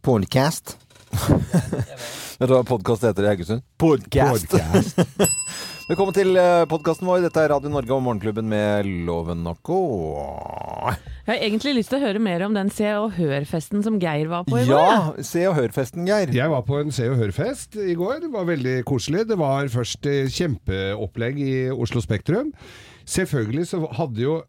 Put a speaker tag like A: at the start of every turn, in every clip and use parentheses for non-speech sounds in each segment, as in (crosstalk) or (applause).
A: Podcast.
B: (laughs) Vet du hva podkast heter i Haugesund? Podcast. Velkommen til eh, podkasten vår. Dette er Radio Norge og Morgenklubben med Loven og Co.
C: Jeg har egentlig lyst til å høre mer om den Se og Hør-festen som Geir var på i går. jeg.
B: Ja, Se og Hør-festen, Geir.
D: (laughs) Jeg var på en Se og Hør-fest i går. Det var veldig koselig. Det var først eh, kjempeopplegg i Oslo Spektrum. Selvfølgelig så hadde jo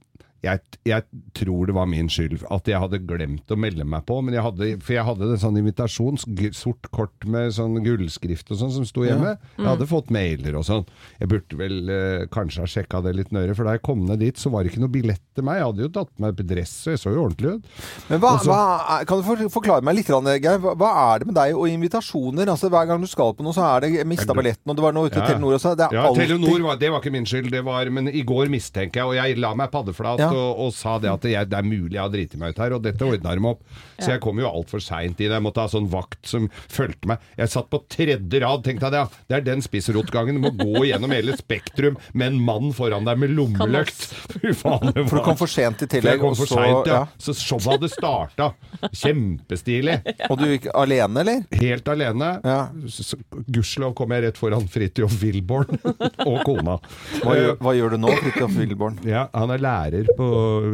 D: jeg, jeg tror det var min skyld at jeg hadde glemt å melde meg på. Men jeg hadde, for jeg hadde en sånn invitasjon, gu- sort kort med sånn gullskrift og sånn, som sto hjemme. Jeg hadde fått mailer og sånn. Jeg burde vel eh, kanskje ha sjekka det litt nøyere, for da jeg kom ned dit, så var det ikke noe billett til meg. Jeg hadde jo tatt på meg dress, og jeg så jo ordentlig ut.
B: Men hva,
D: Og så-
B: hva er, kan du for- forklare meg litt, grann, Geir? Hva, hva er det med deg og invitasjoner? Altså, Hver gang du skal på noe, så er det mista billetten, og det var noe ute i Telenor også. Det er
D: ja,
B: alltid
D: Telenor var, det var ikke min skyld, det var, men i går mistenker jeg, og jeg la meg paddeflat
B: Ja.
D: og, og sa det at jeg, det er mulig jeg har driti meg ut her, og dette ordna de opp. Så jeg kom jo altfor seint inn. Jeg måtte ha sånn vakt som fulgte meg. Jeg satt på tredje rad, tenkte jeg det, ja. Det er den spissrotgangen. Du må gå gjennom hele Spektrum med en mann foran deg med lommelykt. (laughs) Fy faen, det
B: For du
D: var-
B: kom for sent i
D: For jeg
B: tillegg.
D: kom
B: og
D: for
B: så-
D: seint, ja.
B: ja.
D: Så showet hadde starta.
B: (laughs)
D: Kjempestilig.
B: Og du gikk alene, eller?
D: Helt alene.
B: Ja.
D: S- s- Gudskjelov kom jeg rett foran Fridtjof Wilborn (laughs) og kona.
B: Hva gjør,
D: Eh,
B: hva gjør du nå, Fridtjof Wilborn?
D: ja, han er lærer på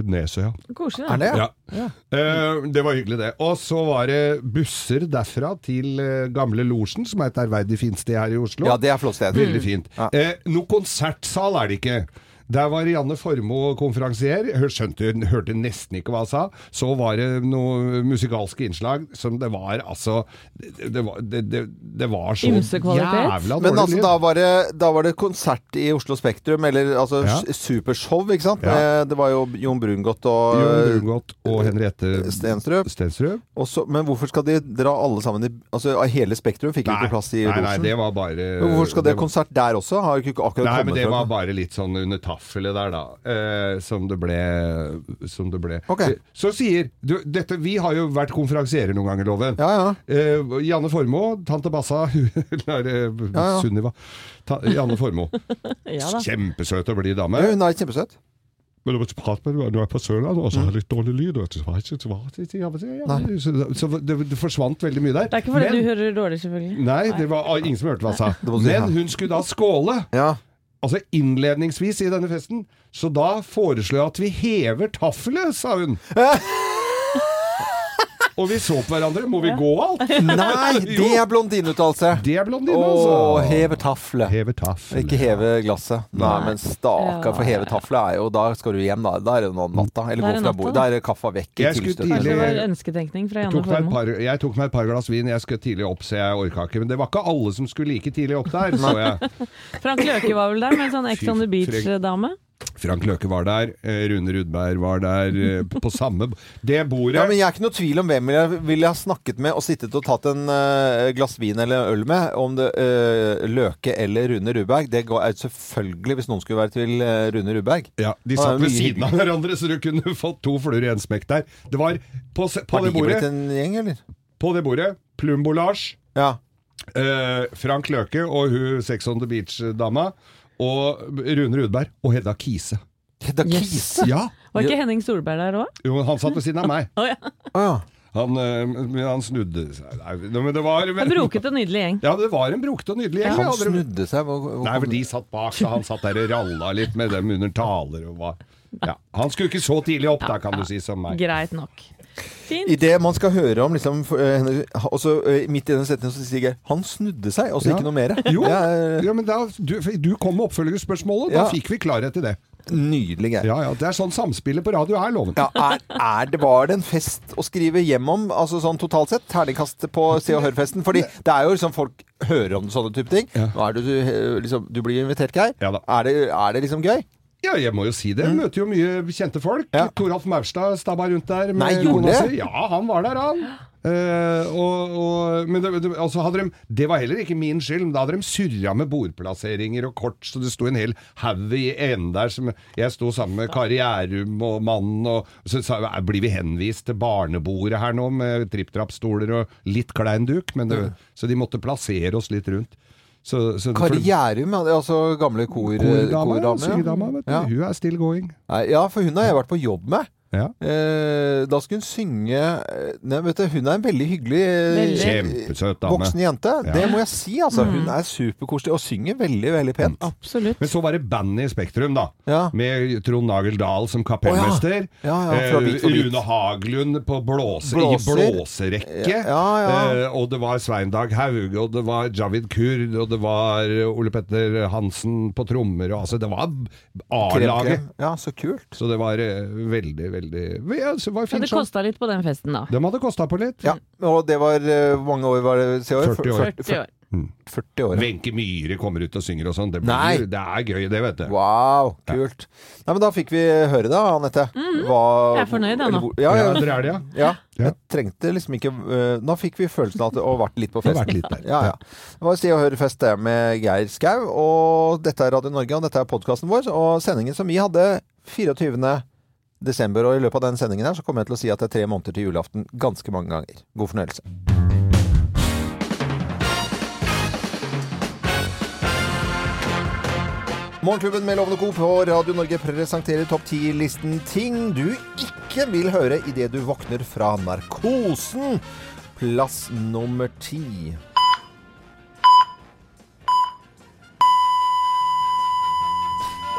D: Nesøya.
C: Koselig,
B: Er
C: da.
B: det?
D: Ja. Eh, det var hyggelig, det. Og så var det busser derfra til eh, Gamle Losjen, som er et ærverdig fint sted her i Oslo.
B: Ja, det er flott sted.
D: Veldig fint.
B: Ja.
D: Eh, noe konsertsal er det ikke. Der var Janne Formoe konferansier. Hør- Skjønte, hørte nesten ikke hva han sa. Så var det noen musikalske innslag som det var altså Det, det, var- det, det, det var så
C: Ymse kvalitet.
D: jævla dårlig
B: Men altså,
D: lyd.
B: da var, det, da var det konsert i Oslo Spektrum, eller altså
D: Ja.
B: s- supershow, ikke sant?
D: Ja.
B: Eh, Det var jo Jon Brungot og eh,
D: Jon Brungot og Henriette
B: Stenstrup.
D: Stenstrup.
B: og så- men hvorfor skal de dra alle sammen i Altså, hele Spektrum fikk jo ikke plass i
D: nei, nei,
B: losjen.
D: det var bare
B: Men Hvorfor skal det
D: var-
B: konsert der også? Har jo ikke akkurat
D: Nei, men
B: kommet
D: det
B: frem.
D: var bare litt sånn under taffelet der, da. Eh, som det ble. Som det ble.
B: Ok.
D: Eh, Så sier du, dette, Vi har jo vært konferansierer noen ganger, Loven.
B: Ja, ja.
D: Eh, Janne Formoe, tante Bassa (laughs) Eller eh,
B: ja.
D: Sunniva. Ta, Janne
B: (laughs)
D: Formoe.
C: Ja, da.
D: Kjempesøt og blid dame.
B: Ja, Hun er kjempesøt.
D: Men du må ikke prate med meg når jeg er på Sørlandet, og så har jeg litt dårlig lyd. Og så, var jeg ikke- så, var jeg ikke- ja, men det- ja, men det- så, så det, det forsvant veldig mye der.
C: Det er ikke fordi
D: men, Mm.
C: du hører dårlig, selvfølgelig.
D: Nei, det var ingen som hørte hva jeg sa.
B: må du si, ja.
D: Men hun skulle da skåle. (laughs)
B: Ja.
D: Altså innledningsvis i denne festen. Så da foreslår jeg at vi hever taffelet, sa
B: (laughs)
D: hun. Og vi så på hverandre. Må vi gå alt?
B: Nei, det er blondineuttalelse!
D: Det er blondine,
B: Å,
D: altså.
B: heve tafle.
D: Heve taffelet.
B: Ikke heve glasset. Nei, men stakkar, for heve tafle er jo Da skal du hjem, da. Da er det noe om natta. Eller gå
C: Mm. Da er det
B: fra
C: natta,
B: bordet.
C: da.
B: Da er det kaffa vekk. i
D: Jeg skulle
B: tilstøt.
C: Kanskje det
D: tidlig-
C: var ønsketenkning fra Janne
D: Tok meg et
C: Formoe.
D: par, jeg tok meg et par glass vin, jeg skulle tidlig opp, så jeg orka ikke. Men det var ikke alle som skulle like tidlig opp der, så jeg.
C: Frank Løke var vel der med en sånn Ex
D: Fy,
C: on the
D: Fredrik.
C: Beach-dame.
D: Frank Løke var der, eh, Rune Rudberg var der, eh, på samme Det
B: Ja, men
D: bordet
B: Jeg er ikke noe tvil om hvem jeg ville ha snakket med og sittet og tatt en eh, glass vin eller øl med. Om det eh, Løke eller Rune Rudberg. Det går- er selvfølgelig hvis noen skulle være til eh, Rune Rudberg.
D: ja, De
B: Ja,
D: satt ved
B: mye
D: siden av hverandre, så du kunne (laughs) fått to fluer i en smekk der. Det var på, se- på
B: Har
D: det
B: de blitt
D: bordet,
B: en gjeng, eller?
D: på det bordet Plumbo Lars,
B: Ja.
D: eh, Frank Løke og hun Sex on the Beach-dama. Og Rune Rudberg og Hedda Kise.
B: Hedda
C: Yes.
B: Kise.
D: Ja,
C: Var ikke Henning Solberg der òg?
D: jo, Han satt ved siden av meg.
B: Å, ja.
D: Han, eh, men han snudde seg Nei, Men det var
C: En broket og
D: (laughs)
C: nydelig gjeng.
D: Ja, det var en brukte og nydelig gjeng.
B: Han
D: ja, dere-
B: snudde seg. Hvor, hvor
D: Nei, for de satt bak, så han satt der og ralla litt med dem under taler og var ja. Han skulle ikke så tidlig opp, da, kan du si, som meg.
C: Greit nok. Fint.
B: I det man skal høre om liksom, for, eh, henne- Og så eh, midt i den setningen så sier jeg 'han snudde seg', og så
D: Ja.
B: ikke noe mer.
D: Jo,
B: Det er
D: ja, men da, du, du kom med oppfølgerspørsmålet, da
B: Ja.
D: fikk vi klarhet i det.
B: nydelig. Geir.
D: Ja, ja, Det er sånn samspillet på radio er, loven.
B: Ja, er, er det, var det en fest å skrive hjem om, altså sånn totalt sett? Terningkast på Se og Hør-festen? Fordi det er jo liksom folk hører om sånne type ting.
D: Ja.
B: Nå er du, du, liksom, du blir invitert, Geir.
D: Ja da.
B: er, det, er det liksom gøy?
D: Ja, jeg må jo si det. Jeg møter jo mye kjente folk.
B: Mm. Ja.
D: Toralf Maurstad stabba rundt der.
B: Nei, gjorde
D: kona
B: det?
D: si. Ja, han var der, han. Eh, og, og, men det, det, altså hadde de, det var heller ikke min skyld, men da hadde de surra med bordplasseringer og kort, så det sto en hel haug i enden der. Som, jeg sto sammen med Kari Gjærum og mannen, og så sa jeg, blir vi henvist til barnebordet her nå med tripp-trapp-stoler og litt klein duk, men
B: Mm.
D: det, så de måtte plassere oss litt rundt. Så, så,
B: Kari Gjærum, ja, det er altså gamle kor,
D: Kordama,
B: kordame,
D: ja. Syngedama, vet du.
B: ja.
D: Hun er still going.
B: Nei, ja, for hun har jeg vært på jobb med.
D: Ja.
B: Eh, da skulle hun synge eh, Nei, vet du, hun er en veldig hyggelig
C: Veldig.
B: eh,
D: Kjempesøt
B: voksen
D: dame.
B: jente.
D: Ja.
B: Det må jeg si, altså.
C: Mm.
B: Hun er superkoselig og synger veldig, veldig pent.
D: Mm.
C: Absolutt.
D: Men så var det bandet i Spektrum, da.
B: Ja.
D: Med Trond Nagel Dahl som kapellmester.
B: Å ja. Ja, ja, fra
D: Eh,
B: Bit for bit.
D: Rune Haglund på blåse,
B: Blåser.
D: i blåserekke.
B: Ja, ja,
D: Eh, og det var Svein Dag Haug, og det var Javid Kurd, og det var Ole Petter Hansen på trommer. Og, altså, det var A-laget.
B: Kremkrem. Ja, så kult.
D: Så det var eh, veldig, veldig ja, så det var sånn. en
C: Men
D: fin
C: det
D: show.
C: kosta litt på den festen, da.
D: De hadde kosta på litt.
B: Ja, og det var eh, Hvor mange år var det? Se år?
D: 40 år.
C: 40 år.
B: 40 år. ja.
D: Wenche Myhre kommer ut og synger og sånn. Det,
B: Nei.
D: blir- det er gøy, det, vet du.
B: Wow, kult. Nei, men Da fikk vi høre det, Anette. Hva-
C: Mm. Jeg er fornøyd, jeg, nå.
B: eller hvor- Ja,
D: Ja,
B: ja,
D: dere er det, ja.
B: Ja.
D: Ja.
B: Jeg trengte liksom ikke øh, Nå fikk vi følelsen av at det har vært litt på
D: Det
B: festen.
D: har vært litt der.
B: Ja, ja. Det var Se og Hør-fest det med Geir Skau. Og dette er Radio Norge, og dette er podkasten vår. Og sendingen som vi hadde 24. desember, og i løpet av den sendingen her så kommer jeg til å si at det er tre måneder til julaften ganske mange ganger. God fornøyelse. Morgenklubben med Lovende Co. på Radio Norge presenterer topp 10-listen ting du ikke vil høre idet du våkner fra narkosen. Plass nummer ti.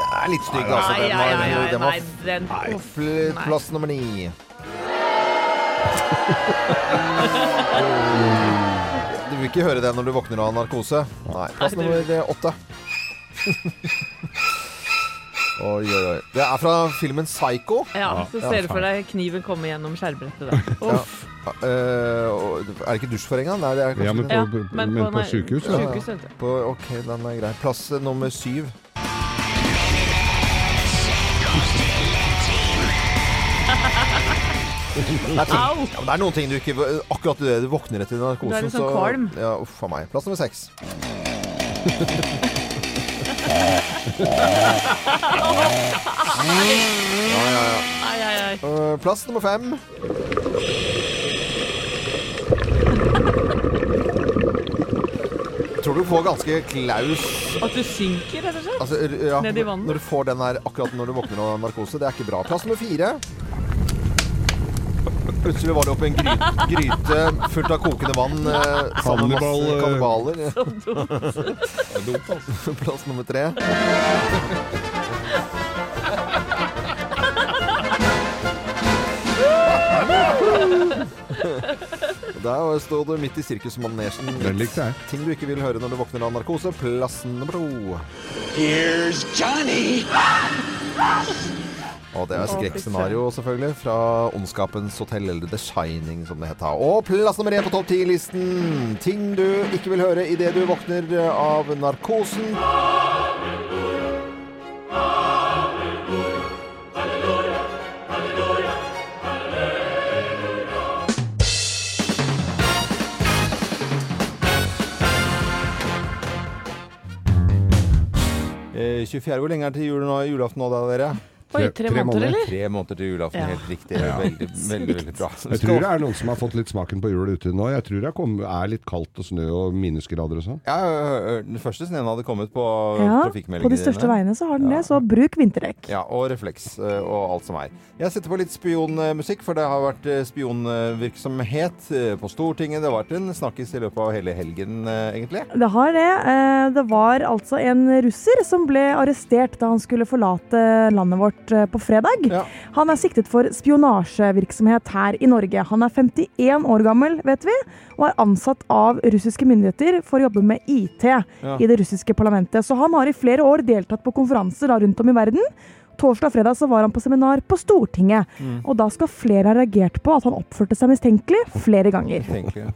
B: Det er litt stygg, altså.
C: Nei,
B: Den
C: nei,
B: var,
C: nei, nei,
B: den var
C: nei, den
B: Uff, Plass nummer ni.
D: (laughs)
B: Du vil ikke høre det når du våkner av narkose? Nei. Plass
C: Nei, det-
B: nummer åtte. Oi, oi, oi. Det er fra filmen 'Psycho'.
C: Ja, så
B: Ja,
C: ser du for
D: faen.
C: deg kniven komme gjennom skjærbrettet der. Uff.
B: Eh, og- er det ikke dusjforenga? Nei, det er kanskje
D: Ja, men
B: ikke
D: på,
C: Ja,
D: men
C: på-
D: på
C: nei,
D: sykehus, ja.
C: sykehus, vet du.
B: det. På, ok, den er grei. Plass nummer syv.
C: (laughs)
B: Det er, ting,
C: Au!
B: ja, men det er noen ting du ikke Akkurat det du våkner etter narkosen.
C: Da er du sånn
B: så-
C: kvalm.
B: Ja, uff a meg. Plass nummer seks.
C: Ai, ai, ai.
B: Eh, Plass nummer fem. Tror du får ganske klaus
C: At du synker, rett og slett.
B: altså, r- ja,
C: Ned i vannet.
B: Når du får den her akkurat når du våkner av narkose. Det er ikke bra. Plass nummer fire. Plutselig var det oppi en gryte, gryte fullt av kokende vann eh, sammen med masse
D: Kannibal,
B: kannibaler. (laughs) Plass nummer tre. Der står du midt i sirkusmanesjen.
D: Den likte jeg.
B: Ting du ikke vil høre når du våkner av narkose. Plass nummer to.
A: Here's Johnny.
B: Og det er skrekkscenario, selvfølgelig, fra Ondskapens hotell, eller The Shining, som det het. da. Og plass nummer én på topp ti-listen. Ting du ikke vil høre idet du våkner av narkosen. Eh, 24. Hvor lenge er det til jul nå, julaften nå, da, dere?
C: Oi,
D: Tre-
C: tre
D: tre
C: måneder,
D: måneder.
C: eller?
B: Tre måneder til julaften,
C: Ja.
B: helt riktig. Veldig, veldig, veldig bra.
D: Jeg tror det er noen som har fått litt smaken på jul ute nå. Jeg tror det er kommet- er litt kaldt og snø og minusgrader og sånn.
B: Ja, ø, ø, ø, den første sneen hadde kommet på
E: Ja,
B: trafikkmeldingene.
E: på de største
B: dine.
E: veiene så har den det, så bruk vinterdekk.
B: Mm. Ja, og refleks ø, og alt som er. Jeg setter på litt spionmusikk, for det har vært ø, spionvirksomhet ø, på Stortinget. Det har vært en snakkis i løpet av hele helgen, ø, egentlig.
E: Det har det. Eh, Det var altså en russer som ble arrestert da han skulle forlate landet vårt eh, på fredag.
B: Ja.
E: Han er siktet for spionasjevirksomhet her i Norge. Han er 51 år gammel, vet vi, og er ansatt av russiske myndigheter for å jobbe med IT i det russiske parlamentet. Så han har i flere år deltatt på konferanser da rundt om i verden. Torsdag og fredag så var han på seminar på Stortinget,
B: Mm.
E: og da skal flere ha reagert på at han oppførte seg mistenkelig flere ganger.
B: Tenker jeg.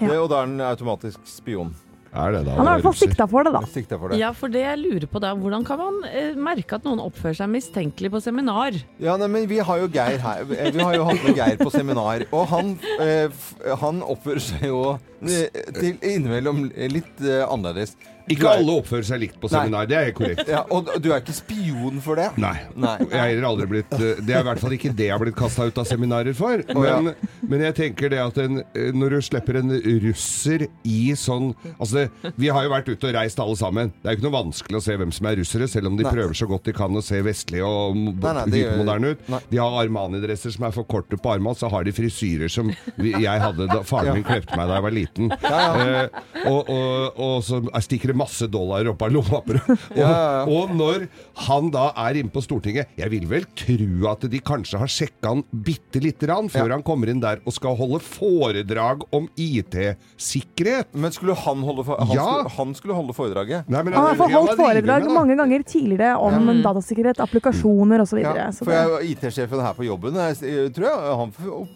E: Ja.
B: Det, og da er den automatisk spion.
D: Er det da?
E: Han er i hvert fall
D: russer?
E: sikta for det, da.
B: Sikta for det. Ja,
C: Ja, for det jeg lurer på da, hvordan kan man eh, merke at noen oppfører seg mistenkelig på seminar?
B: nei, men vi har jo Geir her. Eh, Vi har jo hatt med Geir på seminar. Og han, eh, ø, f- han oppfører seg jo ø, til innimellom litt ø, eh, annerledes.
D: Ikke alle oppfører seg likt på seminar, det er helt korrekt.
B: Ja, og du er ikke spion for det?
D: Nei.
B: Nei.
D: Jeg har heller aldri blitt eh, Det er i hvert fall ikke det jeg har blitt kasta ut av seminarer for. Men, men jeg tenker det at en, eh, når du slipper en russer i sånn Altså, det, vi har jo vært ute og reist alle sammen. Det er jo ikke noe vanskelig å se hvem som er russere, selv om de
B: Nei.
D: prøver så godt de kan å se vestlige og m-
B: Nei, nei, det gjør-
D: hypermoderne ut.
B: Nei.
D: De har Armani-dresser som er for korte på armene, og så har de frisyrer som vi, jeg hadde da faren min klepte meg da jeg var
B: (laughs)
D: liten. Eh, og, og, og så stikker det masse dollar opp av lomma. på det. Og,
B: Ja, ja, ja.
D: og når han da er inne på Stortinget Jeg vil vel tro at de kanskje har sjekka han bitte lite grann før han kommer inn der og skal holde foredrag om IT-sikkerhet.
B: Men skulle han holde, for, han
D: Ja.
B: skulle, han skulle holde foredraget?
D: Nei, men
E: Han har
D: han- han
E: forholdt
D: driver med
E: foredrag
D: det, da.
E: mange ganger tidligere om datasikkerhet, applikasjoner osv.
B: Mm. Ja, for jeg- IT-sjefen her på jobben, jeg, jeg tror jeg, han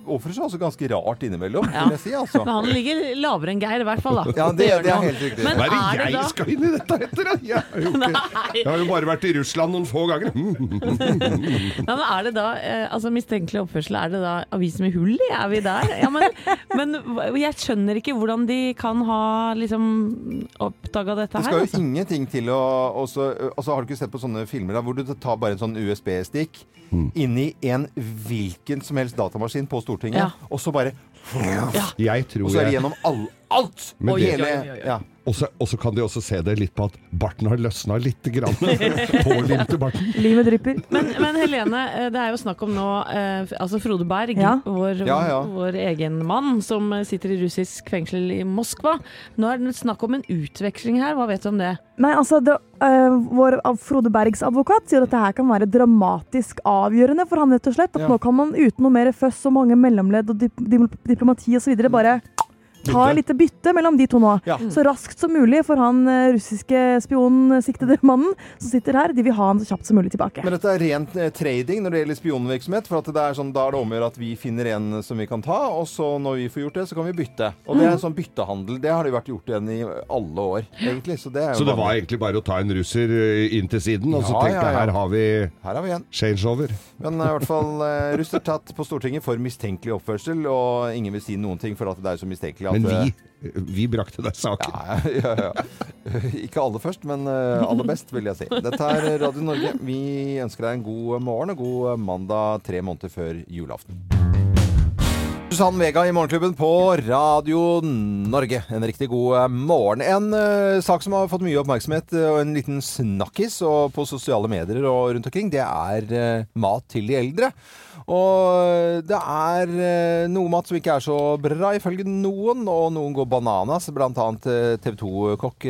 B: oppfører seg også ganske rart innimellom, vil jeg si, altså.
C: Men han ligger lavere enn Geir, i hvert fall. da.
B: Ja, det,
C: gjør
B: det er
C: (laughs) han.
B: helt riktig.
C: Men
D: Hva er det
C: er
D: jeg
C: det da
D: skal inn i dette etter? da? Jeg har jo, ikke, jeg har jo bare vært i Russland noen få ganger. Mm.
C: Ja, men er det da, eh, altså Mistenkelig oppførsel, er det da aviser med hull i? Er vi der? Ja, men, men hva- jeg skjønner ikke hvordan de kan ha liksom oppdaga dette
B: Det
C: her.
B: skal jo
C: Altså.
B: ingenting til å og så- altså, Har du ikke sett på sånne filmer der, hvor du tar bare en sånn USB-stikk
D: Mm.
B: inni en hvilken som helst datamaskin på Stortinget,
C: Ja.
B: og så bare
D: Jeg
B: Og
D: tror
B: så er det
D: jeg
B: gjennom all, alt!
D: Men
B: og
D: det-
B: hele,
C: Oi, oi, oi, oi.
B: Ja.
D: Og så- og så kan de også se det litt på at barten har løsna litt. Grann. (laughs) Pålimte barten.
E: Livet drypper.
C: Men, men Helene, eh, det er jo snakk om nå eh, f- altså Frode Berg,
E: Ja.
C: Vår,
B: Ja, ja.
C: vår egen mann, som eh, sitter i russisk fengsel i Moskva. Nå er det snakk om en utveksling her, hva vet du om det?
E: Nei, altså, det, øh, vår av- Frode Bergs advokat sier at dette her kan være dramatisk avgjørende for han, rett og slett. At
B: Ja.
E: nå kan man uten noe mer føss og mange mellomledd og dip dip- diplomati osv. bare ta
B: Bytte.
E: litt bytte mellom de to nå.
B: Ja.
E: Så raskt som mulig for han øh, russiske spionen, eh, siktede mannen, som sitter her. De vil ha han så kjapt som mulig tilbake.
B: Men dette er rent eh, trading når det gjelder spionvirksomhet. For at det er sånn, da er det om å gjøre at vi finner en som vi kan ta, og så når vi får gjort det, så kan vi bytte. Og det
C: Mm.
B: er en sånn byttehandel. Det har det vært gjort igjen i alle år, egentlig. Så det er jo
D: Så det var
B: vanlig.
D: egentlig bare å ta en russer eh, inn til siden, og så
B: Ja, ja,
D: tenkte jeg
B: ja.
D: her har vi
B: Her er vi igjen.
D: changeover.
B: Men eh, i hvert fall eh, russer tatt på Stortinget for mistenkelig oppførsel, og ingen vil si noen ting, for at det er jo så mistenkelig at
D: Men
B: eh,
D: vi, vi brakte deg saken.
B: Ja, (laughs) ja, ja. Ikke alle først, men eh, aller best, vil jeg si. Dette er Radio Norge. Vi ønsker deg en god morgen og god eh, mandag tre måneder før julaften. Susann Vega i Morgenklubben på Radio Norge. En riktig god morgen. En eh, sak som har fått mye oppmerksomhet eh, og en liten snakkis og på sosiale medier og rundt omkring, det er eh, mat til de eldre. Og det er eh, noe mat som ikke er så bra ifølge noen, og noen går bananas, blant annet eh, TV 2-kokk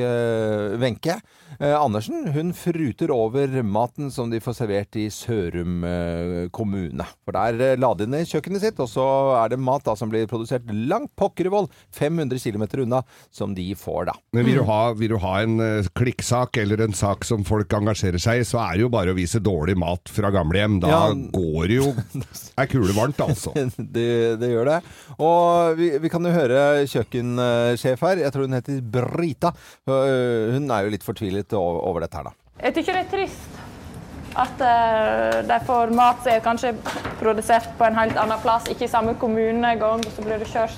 B: Wenche eh, Andersen. Hun fruter over maten som de får servert i Sørum eh, kommune. For der eh, la de ned kjøkkenet sitt, og så er det mat da som blir produsert langt pokker i vold, 500 km unna, som de får da. (laughs)
D: Men vil du, ha, vil du ha en eh, klikksak eller en sak som folk engasjerer seg i, så er det jo bare å vise dårlig mat fra gamlehjem. Da
B: Ja.
D: går det jo
B: (laughs)
D: Er kule varmt, altså.
B: det, det gjør det. Og vi, vi kan jo høre kjøkkensjef her. Jeg tror hun heter Brita. Øh, Hun er jo litt fortvilet o- over dette her, da.
F: Jeg tykker det er trist at eh, de får mat som er kanskje produsert på en helt annen plass, ikke i samme kommune engang, og så blir det kjørt.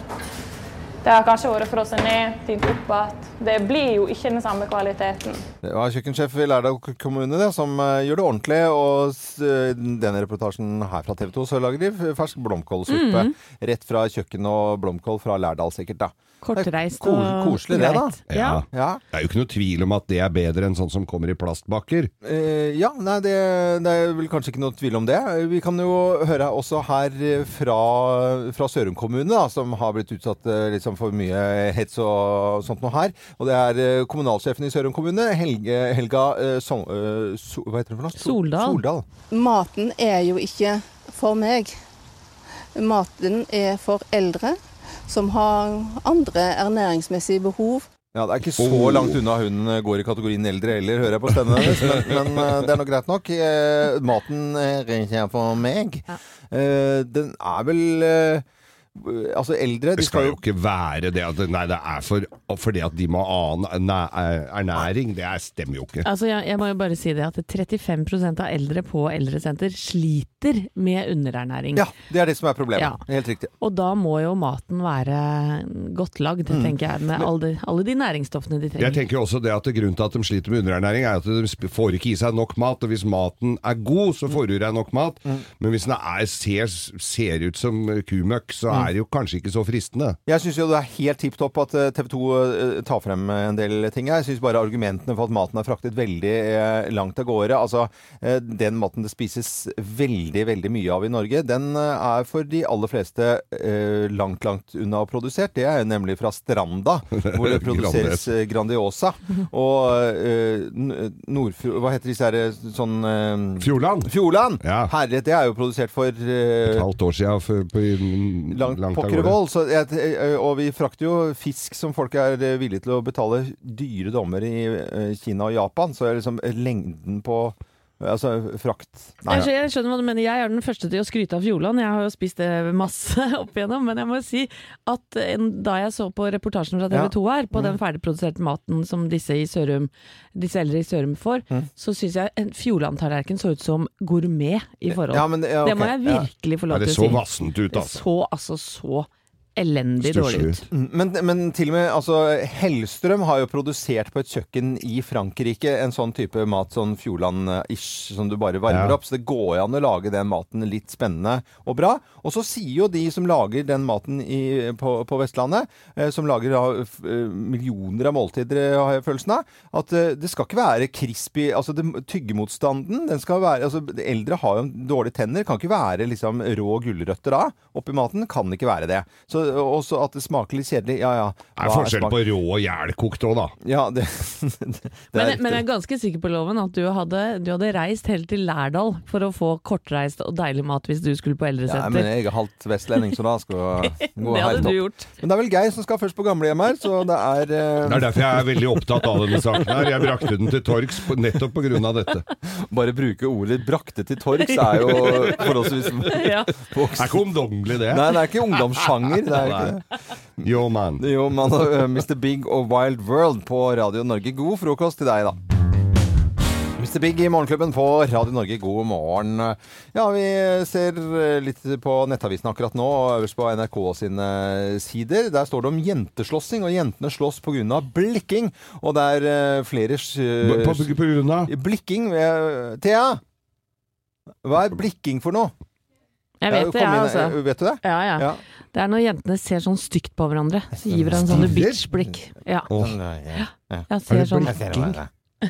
F: Det har kanskje vært frosset ned, tint opp igjen. Det blir jo ikke den samme kvaliteten.
B: Det var kjøkkensjef i Lærdal kommune det, som eh, gjør det ordentlig. Og s- eh, denne reportasjen her fra TV 2, så lager de fersk blomkålsuppe.
C: Mm.
B: Rett fra kjøkken og blomkål fra Lærdal, sikkert, da.
C: Kortreist
B: Det er
C: og
B: kos- Koselig det, da.
C: greit. Ja.
B: Ja.
D: Det er jo ikke noe tvil om at det er bedre enn sånn som kommer i plastbakker.
B: Eh, ja, nei, det, det er vel kanskje ikke noe tvil om det. Vi kan jo høre også her eh, fra, fra Sørum kommune, da, som har blitt utsatt eh, liksom for mye hets og sånt noe her. Og det er eh, kommunalsjefen i Sørum kommune, Helge, Helga eh, Song- eh, so, Hva heter hun for noe? So-
C: Soldal.
B: Soldal.
G: Maten er jo ikke for meg. Maten er for eldre som har andre ernæringsmessige behov.
B: Ja, det er ikke så
D: Oh.
B: langt unna hun eh, går i kategorien eldre heller, hører jeg på stemmen hennes. Men, men eh, det er nå greit nok. Eh, Maten eh, regner jeg for meg. Eh, Den er vel eh, eh, altså eldre de
D: Det skal jo ikke være det at Nei, det er for, fordi at de må ha annen næ- eh, ernæring. Det er- stemmer jo ikke.
C: Altså, jeg, jeg må jo bare si det at 35 av eldre på eldresenter sliter med underernæring.
B: Ja, det er det som er problemet.
C: Mm. Ja.
B: Helt riktig.
C: Og da må jo maten være godt lagd,
B: Mm.
C: tenker jeg, med alle, alle de næringsstoffene de
D: Jeg
C: trenger.
D: tenker jo også det at Grunnen til at de sliter med underernæring, er at de sp- får ikke i seg nok mat. Og hvis maten er god, så får du i deg nok mat. Men hvis den er, ser, ser ut som kumøkk, så er det jo kanskje ikke så fristende.
B: Jeg syns jo det er helt tipp topp at eh, TV 2 tar frem eh, en del ting her. Jeg syns bare argumentene for at maten er fraktet veldig eh, langt av gårde Altså, eh, den maten det spises veldig, veldig mye av i Norge, den eh, er for de aller fleste eh, langt, langt unna produsert. Det er nemlig fra Stranda, hvor det produseres eh, Grandiosa. Og eh, n- Nordfjord... Hva heter disse her eh, sånn eh,
D: Fjordland!
B: Fjordland!
D: Ja.
B: Herre, det er jo produsert for eh,
D: Et halvt år siden for, på,
B: langt,
D: langt av
B: pokker
D: gårde.
B: og vold, så jeg- Og vi frakter jo fisk som folk er eh, villige til å betale dyre dommer i eh, Kina og Japan. Så er liksom lengden på eh, Altså frakt Nei.
C: Jeg skjønner, jeg skjønner hva du mener. Jeg er den første til å skryte av Fjordland. Jeg har jo spist det masse (laughs) opp igjennom. Men jeg må si at eh, en- da jeg så på reportasjen fra TV 2 her,
B: Mm.
C: på den ferdigproduserte maten som disse, i Sørum, disse eldre i Sørum får,
B: Mm.
C: så syns jeg en Fjordland-tallerken så ut som gourmet i forhold.
B: Ja, men, ja,
C: Det må
B: ok,
C: jeg
B: ja.
C: virkelig få
D: Ja,
C: lov
D: det
C: til
D: så
C: å si.
D: vassent ut,
C: Det
D: altså.
C: så altså så elendig dårlig
D: Stusslig
C: ut.
D: ut.
B: Mm, Men, men til og med altså, Hellstrøm har jo produsert på et kjøkken i Frankrike en sånn type mat, sånn Fjordland-ish, som du bare varmer
D: Ja.
B: opp. Så det går jo an å lage den maten litt spennende og bra. Og så sier jo de som lager den maten i, på, på Vestlandet, eh, som lager da, f- eh, millioner av måltider, eh, har jeg følelsen av, at eh, det skal ikke være crispy Altså det, tyggemotstanden, den skal være altså, Eldre har jo dårlige tenner, kan ikke være liksom rå gulrøtter da oppi maten. Kan ikke være det. Så også at det smaker litt kjedelig, ja ja.
D: Det er forskjell på rå og jævlkokt òg, da.
B: Ja, det, (laughs) det, det
C: Men,
B: er
C: men jeg er ganske sikker på loven at du hadde, du hadde reist helt til Lærdal for å få kortreist og deilig mat hvis du skulle på
B: ja, men
C: eldresenter.
B: jeg er halvt vestlending, så da
C: (laughs)
B: skal det gå
C: det hadde
B: helt
C: du
B: opp.
C: gjort.
B: Men det er vel Geir som skal først på gamlehjem her, så det er eh,
D: Det er derfor jeg er veldig opptatt av denne saken her. Jeg brakte den til torgs på, nettopp pga. dette.
B: Bare bruke ordet 'brakte til torgs' er jo forholdsvis
C: (laughs)
B: (laughs)
C: Ja.
D: Det er ikke ungdommelig, det.
B: Nei, det er ikke ungdomssjanger. Det er ikke det.
D: Yo, man.
B: Jo, man, ø, Mr. Big og Wild World på Radio Norge. God frokost til deg, da. Mr. Big i Morgenklubben på Radio Norge, god morgen. Ja, vi ser ø, litt på Nettavisen akkurat nå, og øverst på NRK sine sider. Der står det om jenteslåssing, og jentene slåss pga. blikking. Og det er ø, flere
D: På,
B: ø,
D: på, på grunn av
B: Blikking ø, Thea! Hva er blikking for noe?
C: Jeg vet det,
B: kom
C: jeg,
B: inn,
C: altså.
B: ø, Vet du det?
C: Ja, ja.
B: Ja.
C: Det er når jentene ser sånn stygt på hverandre, så gir hverandre sånne
D: Stirrer?
C: bitch-blikk. Ja.
D: Åh,
B: Sånn,
C: Jeg ser sånn
D: blikk?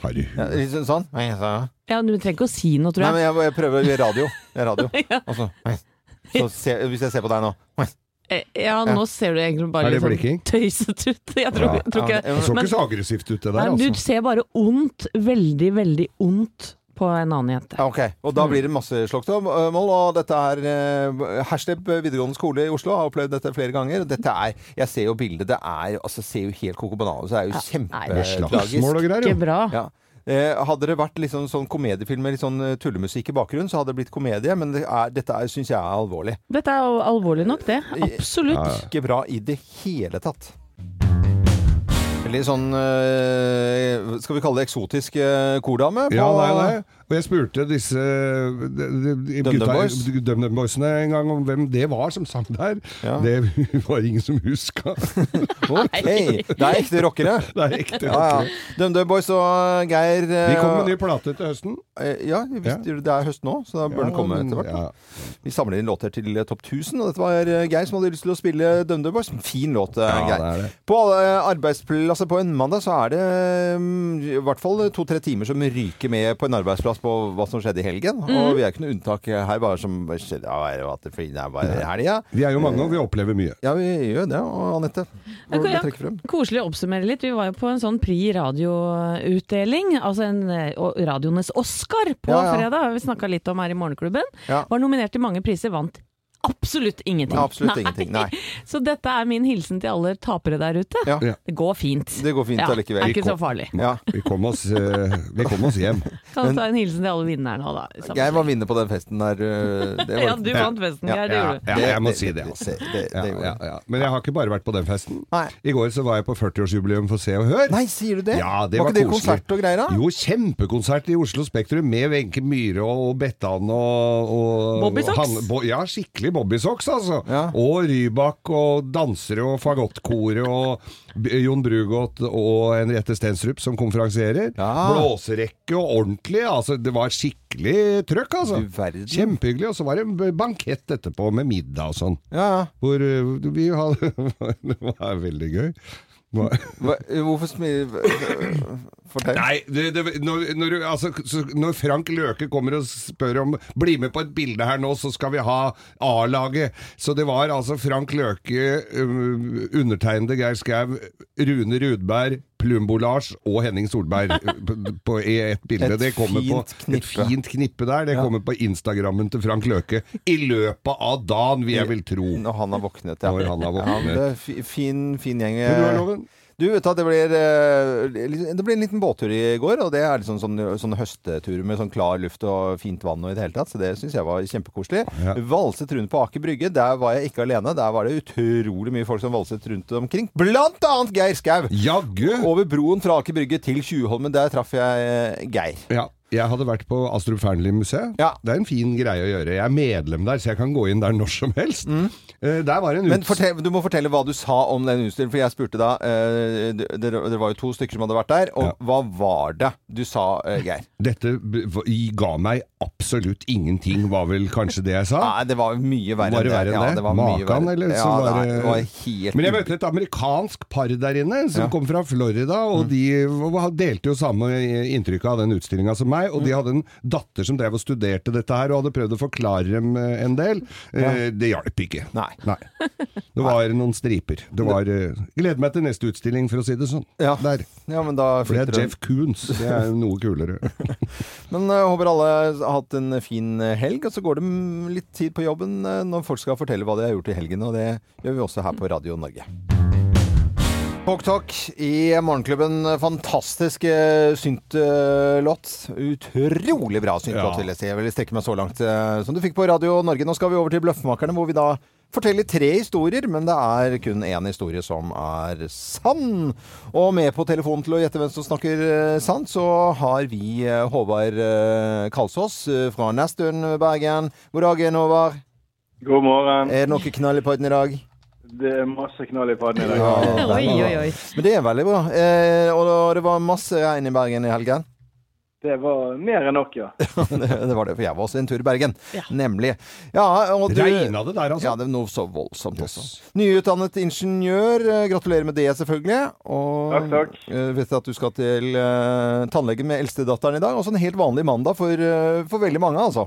D: har du
B: Ja, litt sånn- sånn? Ja, sånn.
C: ja, Du trenger ikke å si noe, tror
B: Nei,
C: jeg.
B: men jeg, jeg prøver å gjøre radio. Jeg er radio.
C: (laughs)
B: Altså, så se, hvis jeg ser på deg nå
C: Eh, Ja, nå ser du egentlig bare
D: Er det
C: litt sånn
D: blikking?
C: tøysete ut. (laughs) Jeg tror, jeg tror ikke
B: Ja,
D: Det så
C: Men-
D: ikke så aggressivt ut, det
C: Nei,
D: der,
C: men Du
D: altså.
C: ser bare ondt, veldig, veldig ondt på en annen jente.
B: Ja, Ok, og da blir det masse slagsmål. Og dette er eh, Hersteb videregående skole i Oslo har opplevd dette flere ganger. og Dette er, jeg ser jo bildet, det er jo- altså, ser jo helt koko banal ut. Det er jo
C: nei, det er
D: Slagsmål
B: kjempetragisk.
D: og greier,
C: Ikke
D: jo.
C: bra.
B: Ja. Eh, hadde det vært liksom sånn komediefilm med litt sånn eh, tullemusikk i bakgrunnen, så hadde det blitt komedie, men det er, dette er- syns jeg er alvorlig.
C: Dette er jo alvorlig nok, det. Absolutt.
B: Ikke bra i det hele tatt. Veldig sånn eh, Skal vi kalle det eksotisk eh, kordame? på-
D: Ja, nei, nei. Og jeg spurte disse de, de, de,
B: Dum Dum
D: gutta-
B: Boys?
D: Dum Dum Boysene en gang om hvem det var som sang der.
B: Ja.
D: Det (laughs) var ingen som huska.
B: (laughs) Ok, det er ekte rockere.
D: Det er ekte.
B: Ja, ja. DumDum Boys og Geir eh,
D: Vi kommer med ny plate til høsten.
B: Ja, visst, det er høst nå, så da bør den komme etter hvert. da.
D: Ja.
B: Vi samler inn låter til eh, topp 1000, og dette var eh, Geir som hadde lyst til å spille DumDum Boys. Fin låt, eh,
D: Ja,
B: Geir.
D: det er det.
B: På alle eh, arbeidsplasser på en mandag så er det mm, i hvert fall to-tre timer som ryker med på en arbeidsplass på hva som skjedde i helgen.
C: Mhm.
B: Og vi er ikke noe unntak her, bare som skjedde ja, er det at det- fordi det er bare helga.
D: Vi er jo mange, og vi opplever mye.
B: Ja, vi gjør det. Og Anette, hva vil
C: Ok,
B: du
C: ja.
B: trekke frem?
C: Koselig å oppsummere litt. Vi var jo på en sånn Pri radioutdeling, altså en eh, og radioenes Oscar på
B: Ja, ja.
C: fredag. Vi snakka litt om her i Morgenklubben.
B: Ja.
C: Var nominert til mange priser, vant absolutt ingenting.
B: Absolutt ingenting. Nei.
C: (laughs) Så dette er min hilsen til alle tapere der ute.
B: Ja.
D: Ja.
C: Det går fint.
B: Det går fint
C: Ja,
B: allikevel.
C: Er ikke så farlig.
B: Ja.
D: Vi kom oss, eh, vi kom oss hjem.
C: Kan ta en hilsen til alle vinnerne òg, da. Samme
B: Jeg
C: slik.
B: var vinner på den festen der. øh, Det var,
C: (laughs) (laughs) ja, du vant festen,
B: Ja.
C: Geir. Det
D: Ja,
C: gjorde du.
D: ja, jeg må si det.
B: Det,
D: Altså.
B: det, det, det,
D: Ja,
B: gjorde
D: ja,
B: jeg.
D: ja. Men jeg har ikke bare vært på den festen.
B: Nei.
D: I går så var jeg på 40-årsjubileum for Se og Hør.
B: Nei, sier du det?
D: Ja, det
B: var
D: var
B: ikke det
D: koselig.
B: konsert og greier da?
D: Jo, kjempekonsert i Oslo Spektrum med Wenche Myhre og Bettan og, og
C: Bobby Socks?
D: Han- bo, ja, skikkelig Bobbysocks, altså.
B: Ja.
D: Og Rybak og dansere og fagottkoret og B- Jon Brugodt og Henriette Stensrup som konferansierer.
B: Ja.
D: Blåserekke og ordentlig. Altså, det var skikkelig trøkk, altså.
B: Du verden.
D: Kjempehyggelig. Og så var det en b- bankett etterpå med middag og sånn.
B: Ja, ja.
D: Hvor øh, vi hadde (laughs) Det var veldig gøy. Hva-
B: Hva, hvorfor smiler Fortell.
D: Nei, det, det, når, når, du- altså, så, når Frank Løke kommer og spør om Bli med på et bilde her nå, så skal vi ha A-laget. Så det var altså Frank Løke, um, undertegnede Geir Skau, Rune Rudberg, Plumbo Lars og Henning
B: (laughs)
D: Solberg eh, på, på, i ett bilde.
B: Et
D: det kommer på,
B: fint
D: Et
B: knippe.
D: fint knippe der. Det kommer på Instagrammen til Frank Løke i løpet av dagen, vil jeg vel tro.
B: Når han har våknet, ja.
D: Når han har våknet.
B: Ja, det er fi- fin, fin gjeng.
D: Men du har loven?
B: Du vet at det blir, eh, litt- det blir en liten båttur i går, og det er liksom sånn, sånn høstetur med sånn klar luft og fint vann og i det hele tatt, så det syns jeg var kjempekoselig.
D: Ja.
B: Valset rundt på Aker Brygge, der var jeg ikke alene, der var det utrolig mye folk som valset rundt omkring, blant annet Geir Skau!
D: Jaggu!
B: Over broen fra Aker Brygge til Tjuvholmen, der traff jeg eh, Geir.
D: Ja, jeg hadde vært på Astrup Fearnley-museet.
B: Ja.
D: Det er en fin greie å gjøre. Jeg er medlem der, så jeg kan gå inn der når som helst. Eh, der var en
B: Mm. Men
D: ut...
B: fortell, du må fortelle hva du sa om den utstillingen, for jeg spurte da eh, d- Dere dere var jo to stykker som hadde vært der, og
D: Ja.
B: hva var det du sa, eh, Geir?
D: Dette b- v- ga meg absolutt ingenting, var vel kanskje det jeg sa.
B: Nei, det var mye verre
D: Var det verre enn
B: Ja,
D: det?
B: det var mye
D: Makan,
B: verre.
D: eller
B: ja,
D: så var
B: nei,
D: det-
B: det var helt
D: Men jeg møtte et amerikansk par der inne,
B: Ja.
D: som
B: Mm.
D: kom fra Florida, og de v- delte jo samme inntrykk av den utstillinga som meg.
B: Mm.
D: Og de hadde en datter som drev og studerte dette her, og hadde prøvd å forklare dem eh, en del. Eh, Det hjalp ikke.
B: Nei. (laughs)
D: Det var noen striper. Det var eh, Gleder meg til neste utstilling, for å si det sånn.
B: Ja.
D: Der.
B: Ja, men da
D: For det
B: flytter
D: er Jeff Koons. (laughs) Det er noe (laughs) kulere.
B: hun. Men jeg håper alle har hatt en fin eh, helg, og så går det mm, litt tid på jobben eh, når folk skal fortelle hva de har gjort i helgen, og det gjør vi også her på Radio Norge. Talk Talk i Morgenklubben. Fantastisk eh, syntlåt. Utrolig bra syntlåt,
D: Ja.
B: vil jeg si. Jeg vil strekke meg så langt eh, som du fikk på Radio Norge. Nå skal vi over til Bløffmakerne, hvor vi da forteller tre historier, men det er kun én historie som er sann. Og med på telefonen til å gjette hvem som snakker eh, sant, så har vi eh, Håvard eh, Kalsås eh, fra Nesttun, Bergen. God dagen, Håvard.
H: God morgen.
B: Er det noe knall i podden i dag?
H: Det er masse knall i padden i dag.
C: Oi, oi, oi.
B: Men det er veldig bra. Eh, og da- det var masse regn i Bergen i helgen. (laughs)
H: Det var mer enn nok, ja.
B: det det var det, for jeg var også en tur i Bergen.
C: Ja.
B: Nemlig. Ja, og du,
D: Regna det der,
B: ja,
D: altså?
B: det var noe så voldsomt også.
D: Yes.
B: Nyutdannet ingeniør. eh, Gratulerer med det, selvfølgelig. Og
H: Takk, takk.
B: eh, vet at du skal til eh, tannlegen med eldstedatteren i dag. Også en helt vanlig mandag for, eh, for veldig mange, altså.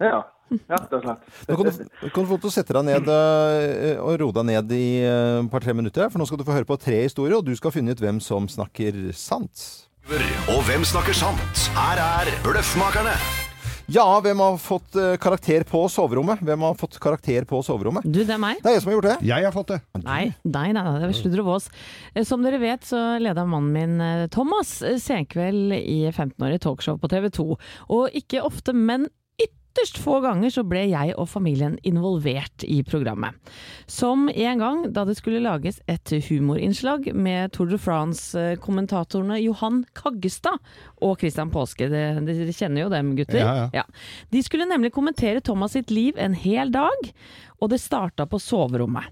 H: Ja, rett og slett.
B: Nå kan du,
H: Eh,
B: kan du få lov til å sette deg ned eh, og roe deg ned i eh, et par-tre minutter, for nå skal du få høre på tre historier, og du skal finne ut hvem som snakker sant.
I: Og hvem snakker sant? Her er Bløffmakerne.
B: Ja, hvem har fått eh, karakter på soverommet? Hvem har fått karakter på soverommet?
C: Du, det er meg.
B: Det er jeg som har gjort det.
D: Jeg har fått det.
C: Nei, nei, nei, nei det er Sludder og Vås. Eh, Som dere vet så leda mannen min eh, Thomas eh, senkveld i 15-årig talkshow på TV 2. Og ikke ofte, men ytterst få ganger så ble jeg og familien involvert i programmet. Som en gang da det skulle lages et humorinnslag med Tour de France-kommentatorene Johan Kaggestad og Christian Påske. Det- Dere kjenner jo dem, gutter.
D: Ja, ja.
C: Ja. De skulle nemlig kommentere Thomas sitt liv en hel dag, og det starta på soverommet.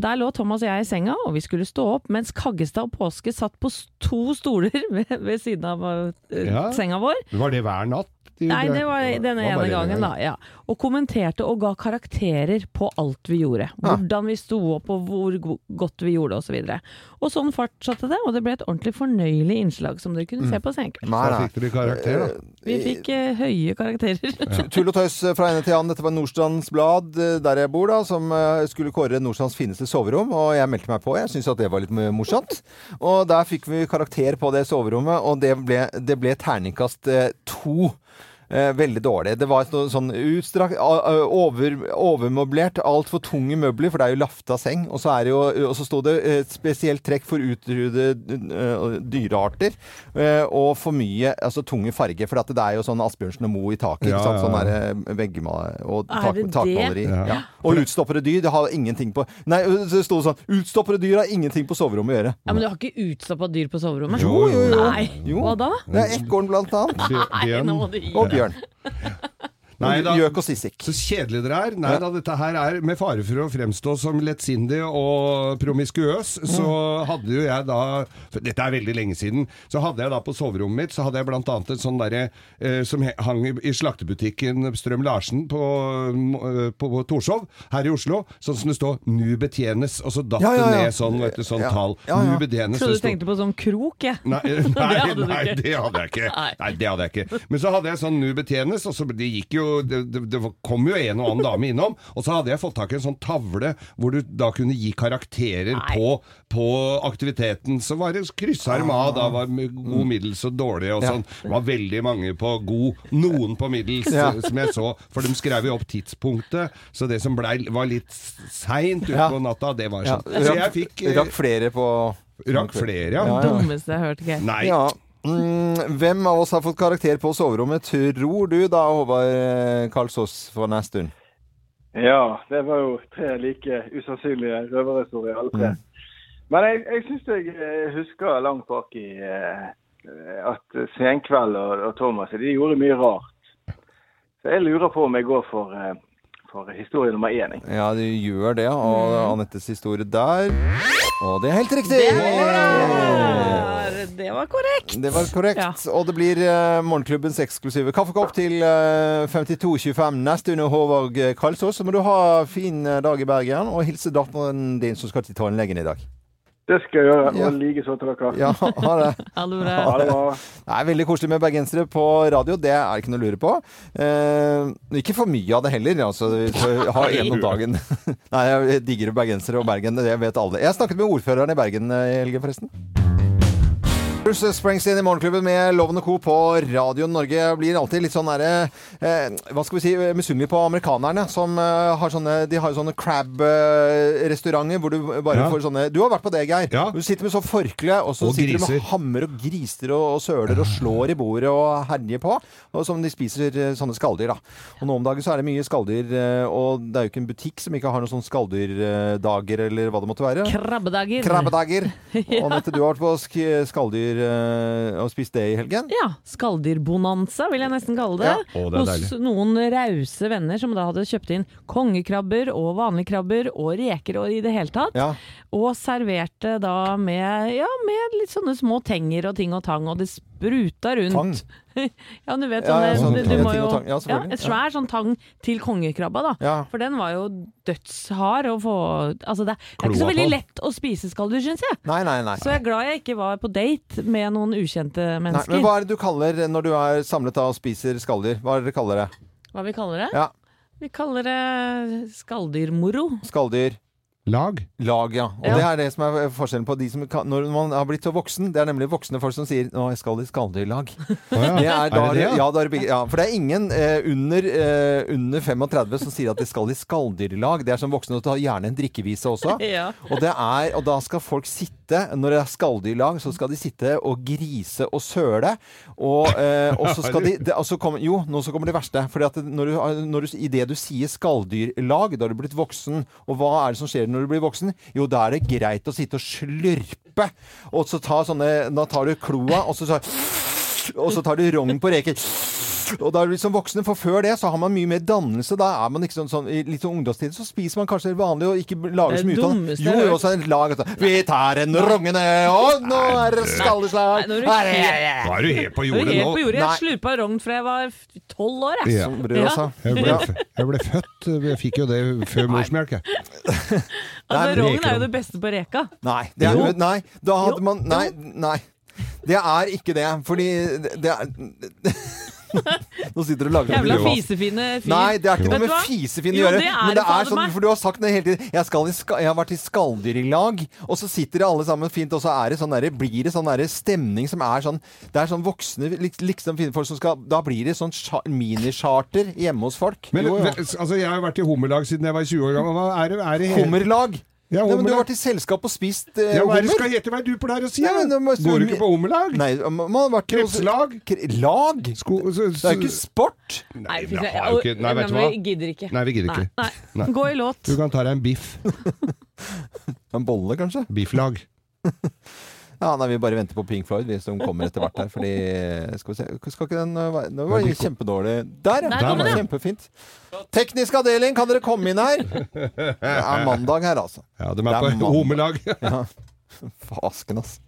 C: Der lå Thomas og jeg i senga, og vi skulle stå opp, mens Kaggestad og Påske satt på s- to stoler (laughs) ved, ved siden av eh,
D: Ja.
C: senga vår.
D: Var det hver natt? De-
C: Nei, det var denne
D: var bare
C: ene gangen, da. Ja. Og kommenterte og ga karakterer på alt vi gjorde.
D: Ah.
C: Hvordan vi sto opp og hvor go- godt vi gjorde det, og så videre. Og sånn fortsatte det, og det ble et ordentlig fornøyelig innslag som dere
D: Mm.
C: kunne se på senkveld.
B: Nei,
D: Da
B: nei.
D: fikk dere karakter,
C: (laughs)
D: da.
C: Vi fikk eh, høye karakterer.
B: Tu- Tull og tøys eh, fra ene til annen. Dette var Nordstrands Blad, eh, der jeg bor, da, som eh, skulle kåre Nordstrands fineste soverom. Og jeg meldte meg på. Jeg syntes at det var litt m- morsomt. Og der fikk vi karakter på det soverommet, og det ble, det ble terningkast eh, to. Eh, veldig dårlig. Det var så, sånn utstrakt, a- a- over, overmøblert, altfor tunge møbler, for det er jo lafta seng. Og så, er det jo, og så sto det eh, et spesielt trekk for utrydde eh, dyrearter, eh, og for mye altså tunge farger. For at det er jo sånn Asbjørnsen og Moe i taket. ikke
D: Ja,
B: sant?
D: ja,
B: Sånn
D: ja.
B: der, eh, veggma- og
C: Er
B: tak,
C: det det?
B: takmaleri.
D: Ja.
B: Ja. Og utstoppede dyr, det har ingenting på Nei, det sto sånn Utstoppede dyr har ingenting på soverommet å gjøre.
C: Ja, Men du har ikke utstoppa dyr på soverommet?
D: Jo, jo, jo.
C: Nei.
B: Jo.
C: Hva da?
B: Det er ekorn, blant annet.
C: Nei,
D: Bjørn.
C: nå må du gi
B: Og bjørn.
D: Nei da.
B: Gjøk og sissik.
D: Så kjedelig dere er. Nei da, dette her er med fare for å fremstå som lettsindig og promiskuøs,
B: Mm.
D: så hadde jo jeg da for Dette er veldig lenge siden. Så hadde jeg da på soverommet mitt, så hadde jeg blant annet et sånn derre eh, som he- hang i, i slaktebutikken Strøm-Larsen på, eh, på, på Torshov her i Oslo, sånn som det står 'Nu betjenes', og så datt
B: Ja, ja, ja.
D: det ned sånn, vet du, sånn
B: Ja.
D: tall.
B: Ja, ja.
D: Nu betjenes. det
C: Trodde du
D: sto-
C: tenkte på sånn krok, jeg.
B: (laughs)
D: Nei, nei,
C: hadde du
D: nei,
C: ikke.
D: det hadde jeg ikke.
C: Nei.
D: Nei, det hadde jeg ikke. Men så hadde jeg sånn Nu betjenes, og så det gikk jo det, det, det kom jo en og annen dame innom, og så hadde jeg fått tak i en sånn tavle hvor du da kunne gi karakterer
C: Nei.
D: på, på aktiviteten. Så var det kryssa dem av, da var god, middels og dårlig
B: Mm.
D: og
B: Ja.
D: sånn. Det var veldig mange på god, noen på middels, eh,
B: Ja.
D: som jeg så, for de skrev jo opp tidspunktet, så det som blei var litt seint
B: Ja.
D: utpå natta, det var
B: Ja. altså,
D: sånn. Så jeg fikk eh,
B: Rakk flere på
D: Rakk flere, ja.
B: Ja, ja.
C: Dummeste jeg har hørt, Geir.
D: Nei.
B: Ja. Mm, hvem av oss har fått karakter på soverommet, tror du da, Håvard eh, Karlsås for neste stund?
H: Ja, det var jo tre like usannsynlige røverhistorier, alle tre.
B: Mm.
H: Men jeg, jeg syns jeg eh, husker langt bak i eh, at Senkveld og, og Thomas de gjorde mye rart. Så jeg lurer på om jeg går for, eh, for historie nummer én. jeg.
B: Ja, du gjør det, og Anettes historie der. Og Mm. det er helt riktig!
C: Ja, Det var korrekt.
B: Det var korrekt. Og det blir eh, morgenklubbens eksklusive kaffekopp til eh, 52.25 neste under Håvard Kalsås. Så må du ha fin eh, dag i Bergen, og hilse datteren din som skal til tannlegen i dag.
H: Det skal jeg gjøre.
B: Ja.
H: Og likeså til dere.
B: Ja, ha det.
C: Ha det bra.
H: Ha det bra.
B: Det er veldig koselig med bergensere på radio, det er det ikke noe å lure på. Eh, ikke for mye av det heller, altså. vi
D: (laughs)
B: får Ha én om dagen. Nei, jeg digger bergensere og Bergen, det vet alle. Jeg snakket med ordføreren i Bergen eh, i helgen, forresten. Bruce Springsteen i Morgenklubben med Loven og Co. på Radio Norge. Jeg blir alltid litt sånn derre eh, Hva skal vi si Misunnelig på amerikanerne. Som eh, har sånne De har jo sånne crab-restauranter hvor du bare
D: Ja.
B: får sånne Du har vært på det, Geir.
D: Ja.
B: Du sitter med sånn forkle, og så
D: Og
B: sitter du
D: griser.
B: med hammer og griser og, og søler og slår i bordet og herjer på. Og som de spiser eh, sånne skalldyr, da. Og nå om dagen så er det mye skalldyr, eh, og det er jo ikke en butikk som ikke har noen sånne skalldyrdager eh, eller hva det måtte være.
C: Krabbedager. (laughs)
B: Krabbedager. Og Anette, du har vært på sk- skalldyr eh, og spist det i helgen?
C: Ja, skalldyrbonanza vil jeg nesten kalle det.
D: Ja, å, det er
C: Hos
D: deilig.
C: noen rause venner som da hadde kjøpt inn kongekrabber og vanlige krabber og reker og i det hele tatt.
B: Ja.
C: Og serverte da med, ja, med litt sånne små tenger og ting og tang, og det spruta rundt. (laughs) ja, du vet
B: Ja,
C: sånne,
B: ja, sånn
C: du,
B: tang.
C: du må
B: Ting
C: jo
B: og tang. Ja, selvfølgelig.
C: En svær sånn tang til kongekrabba, da.
B: Ja.
C: For den var jo dødshard å få Altså, det, det er ikke
D: Kloa
C: så veldig
D: på.
C: lett å spise skalldyr, syns jeg.
B: Nei, nei, nei.
C: Så jeg er glad jeg ikke var på date med noen ukjente
B: nei.
C: mennesker.
B: Men hva er det du kaller når du er samlet da og spiser skalldyr? Hva er det dere kaller det?
C: Hva vi kaller det?
B: Ja.
C: Vi kaller det skalldyrmoro.
B: Skalldyr?
D: Lag?
B: Lag, ja. Og
C: Ja.
B: det er det som er forskjellen på de som kan, Når man har blitt så voksen, det er nemlig voksne folk som sier 'Å, jeg skal i skalldyrlag'.
D: Å ja.
B: Det er, da,
D: det det, ja?
B: ja? da er det, begge- ja, for det er ingen eh, under, eh, under 35 som sier at de skal i skalldyrlag. Det er som voksne, og ta gjerne en drikkevise også.
C: Ja.
B: Og, det er, og da skal folk sitte, når det er skalldyrlag, så skal de sitte og grise og søle. Og, eh, og så skal de det, og så kommer- Jo, nå så kommer det verste. Fordi at det- når du, når du, i det du sier skalldyrlag, da har du blitt voksen. Og hva er det som skjer når du blir voksen? Jo, da er det greit å sitte og slurpe. Og så ta sånne Da tar du kloa, og så, så og så tar du rogn på reker. Og da er du liksom voksne, for før det så har man mye mer dannelse. Da er man ikke sånn, sånn i litt sånn ungdomstid, så spiser man kanskje vanlig og ikke lager
C: Det
B: så mye ut av det.
C: dummeste
B: Jo,
C: jeg har
B: jo, så er det et lag altså. Vi tar en rungende, og nå er det skalleslag!
C: Nei, nå er du
B: Nei,
C: helt-
B: ja, ja, ja.
D: Nå er du helt på
C: Jeg
D: jordet
C: var helt på
D: nå.
C: jordet.
B: Nei.
C: Jeg slurpa rogn fra jeg var f- tolv år. Jeg.
D: Ja.
B: Som bror, altså.
D: Jeg
B: (laughs)
D: ble,
B: Ja.
D: jeg ble født, eh, jeg fikk jo det før morsmelk. jeg.
C: Altså,
B: Nei,
C: rogn er
D: reker.
C: jo det beste på reka.
B: Nei, det er,
C: Jo.
B: nei, da
C: Jo. (laughs)
B: hadde man Nei, nei. Det er ikke det, fordi det er Nå sitter du og lager
C: Jævla
B: sånn lyd.
C: fisefine fyr.
B: Nei, det har ikke
C: Vet
B: noe
C: du
B: med
C: hva?
B: fisefine å
C: Jo,
B: gjøre.
C: det er
B: men det
C: fader
B: er sånn,
C: meg.
B: for du har sagt det hele tiden. Jeg, skal i ska, jeg har vært i skalldyrlag, og så sitter alle sammen fint, og så er det sånn der, blir det sånn der stemning som er sånn Det er sånn voksne lik- liksom fine folk som skal Da blir det sånn sja- minicharter hjemme hos folk.
D: Men,
B: Jo, jo.
D: ve- altså, jeg har vært i hummerlag siden jeg var 20 år gammel. Hva er det, er det hele-
B: Hummerlag.
D: Ja,
B: Nei, men du
D: hummerlag.
B: har vært i selskap og spist eh,
D: Ja, hva er det
B: hummer.
D: skal hete meg du på der og si?
B: Ja, men da må-
D: Går du ikke på hummerlag?
B: Nei, man har vært i-
D: Krepslag?
B: Kre- Lag?
D: Sko, så,
B: Det er jo ikke sport.
C: Nei,
D: Nei,
C: fy
D: vi
C: søren.
D: har jo ikke Nei, vet du hva?
C: Vi gidder ikke.
D: Nei, vi gidder ikke.
C: Nei.
D: Nei.
C: Gå i låt.
D: Du kan ta deg en biff.
B: En bolle, kanskje?
D: Bifflag.
B: Ja, nei, Vi bare venter på Pink Floyd, vi som kommer etter hvert her. Fordi Skal vi se Skal ikke den uh, være- Nå var det kjempedårlig. Der,
C: Nei,
B: ja!
C: Der
B: Der
C: kom
B: var det
C: den.
B: kjempefint. Teknisk avdeling, kan dere komme inn her? Det er mandag her, altså.
D: Ja, de
B: Det
D: er
B: er
D: på
B: mandag.
D: hummerlag.
B: Fasken, ass.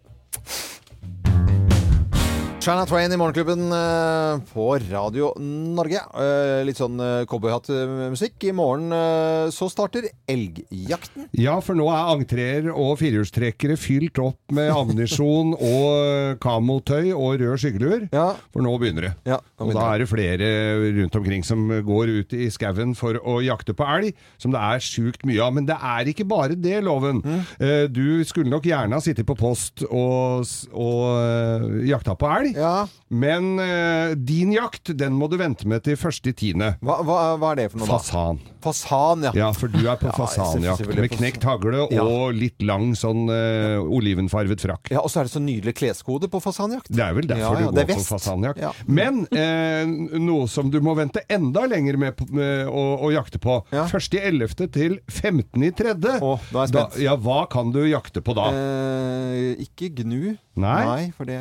B: China Train i Morgenklubben eh, på Radio Norge. Eh, Litt sånn eh, cowboyhattmusikk. I morgen eh, så starter elgjakten.
D: Ja, for nå er entreer og firehjulstrekkere fylt opp med ammunisjon og eh, kamotøy og rød skyggeluer.
B: Ja.
D: For nå begynner det.
B: Ja, nå
D: og da er det flere rundt omkring som går ut i skauen for å jakte på elg, som det er sjukt mye av. Men det er ikke bare det, Loven.
B: Mm.
D: Eh, Du skulle nok gjerne ha sittet på post og, s- og eh, jakta på elg.
B: Ja,
D: Men eh, din jakt, den må du vente med til første i tiende.
B: hva, hva, hva er det for noe, da?
D: Fasan.
B: Fasan, ja.
D: Ja, for du er på fasanjakt
B: selvfølgelig
D: med
B: på-
D: knekt hagle
B: Ja.
D: og litt lang sånn eh, olivenfarvet frakk.
B: Ja, Og så er det så nydelig kleskode på fasanjakt.
D: Det er vel derfor
B: Ja, ja,
D: du
B: det er
D: går for
B: vest.
D: fasanjakt.
B: Ja.
D: Men eh, noe som du må vente enda lenger med, på- med å, å jakte på.
B: Ja.
D: Først i 11. til 15. i 3.
B: Å, da er jeg spent.
D: ja, hva kan du jakte på da?
B: Eh, ikke gnu.
D: Nei.
B: for det